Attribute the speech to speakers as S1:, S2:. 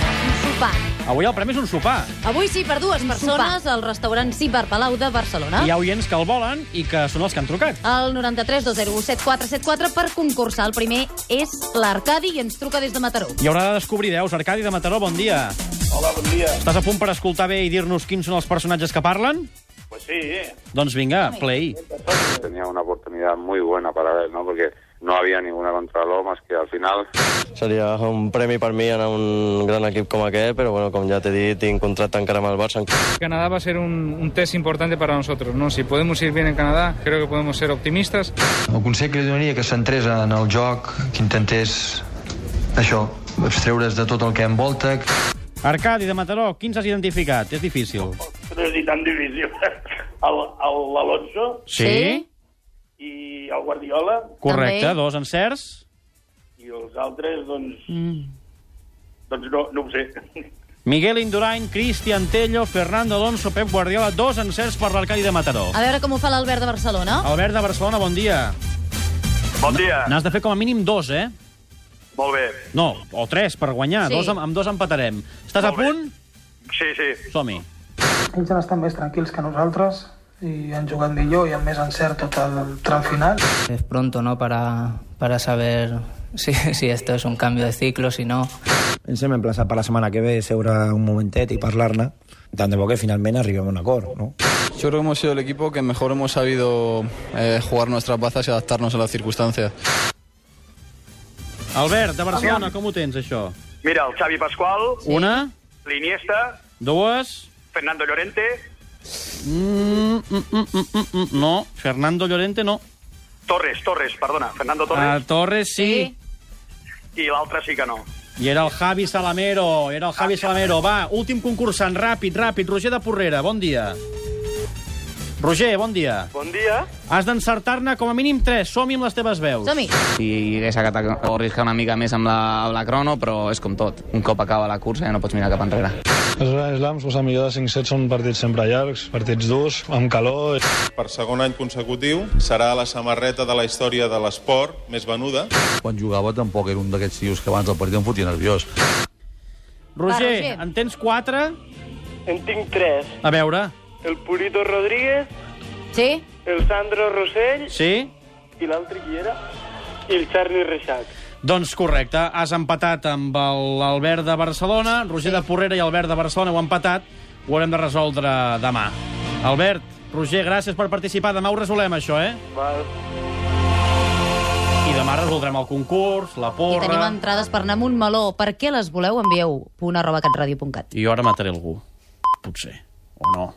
S1: sopar.
S2: Avui el premi és un sopar.
S1: Avui sí, per dues persones, al restaurant Cibar Palau de Barcelona.
S2: Hi ha oients que el volen i que són els que han trucat.
S1: El 93 201 7474 per concursar. El primer és l'Arcadi i ens truca des de Mataró.
S2: Hi haurà de descobrir deus. Arcadi de Mataró, bon dia.
S3: Hola, bon dia.
S2: Estàs a punt per escoltar bé i dir-nos quins són els personatges que parlen?
S3: Pues sí, eh.
S2: Doncs vinga, play.
S4: Tenía una oportunidad muy buena para ver, ¿no? Porque no había ninguna contra lo más que al final.
S5: Seria un premi per mi anar a un gran equip com aquest, però bueno, com ja t'he dit, tinc contracte encara amb el Barça.
S6: Canadá va a ser un, un test importante para nosotros. ¿no? Si podemos ir bien en Canadá, creo que podemos ser optimistas.
S7: El consell que li donaria que centrés en el joc, que intentés això, abstreure's de tot el que envolta.
S2: Arcadi de Mataró, quins has identificat? És difícil.
S3: no és ni tan difícil. El- el- L'Alonso
S1: Sí?
S3: i el Guardiola
S2: Correcte,
S1: També.
S2: dos encerts.
S3: i els altres, doncs... Mm. Doncs no, no ho sé.
S2: Miguel Indurain, Cristian Tello, Fernando Alonso, Pep Guardiola, dos encerts per l'Arcadi de Mataró.
S1: A veure com ho fa l'Albert de Barcelona.
S2: Albert de Barcelona, bon dia.
S3: Bon dia.
S2: N'has de fer com a mínim dos, eh?
S3: Molt bé.
S2: No, o tres per guanyar.
S1: Sí.
S2: Dos, amb, amb dos empatarem. Estàs a
S3: Molt bé.
S2: punt?
S3: Sí, sí.
S2: Som-hi.
S8: Ells han estat més tranquils que nosaltres i han jugat millor i amb més encert tot el tram final.
S9: Es pronto, ¿no? Para, para saber si, si esto es un cambio de ciclo, si no.
S10: Pensem en plaça per la setmana que ve seure un momentet i parlar-ne, tant de bo que finalment arribem a un acord, no?
S5: Yo creo que hemos sido el equipo que mejor hemos sabido eh, jugar nuestras bazas y adaptarnos a las circunstancias.
S2: Albert, de Barcelona, com ho tens, això?
S3: Mira, el Xavi Pasqual,
S2: Una,
S3: l'Iniesta,
S2: dues...
S3: Fernando Llorente,
S2: Mm, mm, mm, mm, mm, mm, no, Fernando Llorente no.
S3: Torres, Torres, perdona, Fernando
S2: Ah, Torres sí.
S3: i l'altre sí que no.
S2: I era el Javi Salamero, era el Javi Salamero. Va, últim concursant, ràpid, ràpid. Roger de Porrera, bon dia. Roger, bon dia.
S3: Bon dia.
S2: Has d'encertar-ne com a mínim 3. Som-hi amb les teves veus.
S1: Som-hi.
S9: Si hagués atacat o arriscar una mica més amb la, amb la crono, però és com tot. Un cop acaba la cursa ja no pots mirar cap enrere.
S6: Els islams, la millor de 5 sets són partits sempre llargs, partits durs, amb calor...
S7: Per segon any consecutiu serà la samarreta de la història de l'esport més venuda.
S5: Quan jugava tampoc era un d'aquests tios que abans del partit em fotia nerviós.
S2: Roger,
S1: Va, Roger.
S2: en tens 4?
S3: En tinc tres.
S2: A veure.
S3: El Purito Rodríguez,
S1: Sí?
S3: el Sandro Rossell
S2: Sí?
S3: i l'altre qui era? I el Charlie Reixac.
S2: Doncs correcte, has empatat amb el- l'Albert de Barcelona, Roger de Porrera i Albert de Barcelona ho han empatat, ho haurem de resoldre demà. Albert, Roger, gràcies per participar, demà ho resolem això, eh?
S3: Val.
S2: I demà resoldrem el concurs, la
S1: I
S2: porra...
S1: tenim entrades per anar amb un meló. Per què les voleu? Envieu punt arroba catradio punt cat.
S2: I jo ara mataré algú. Potser. O no.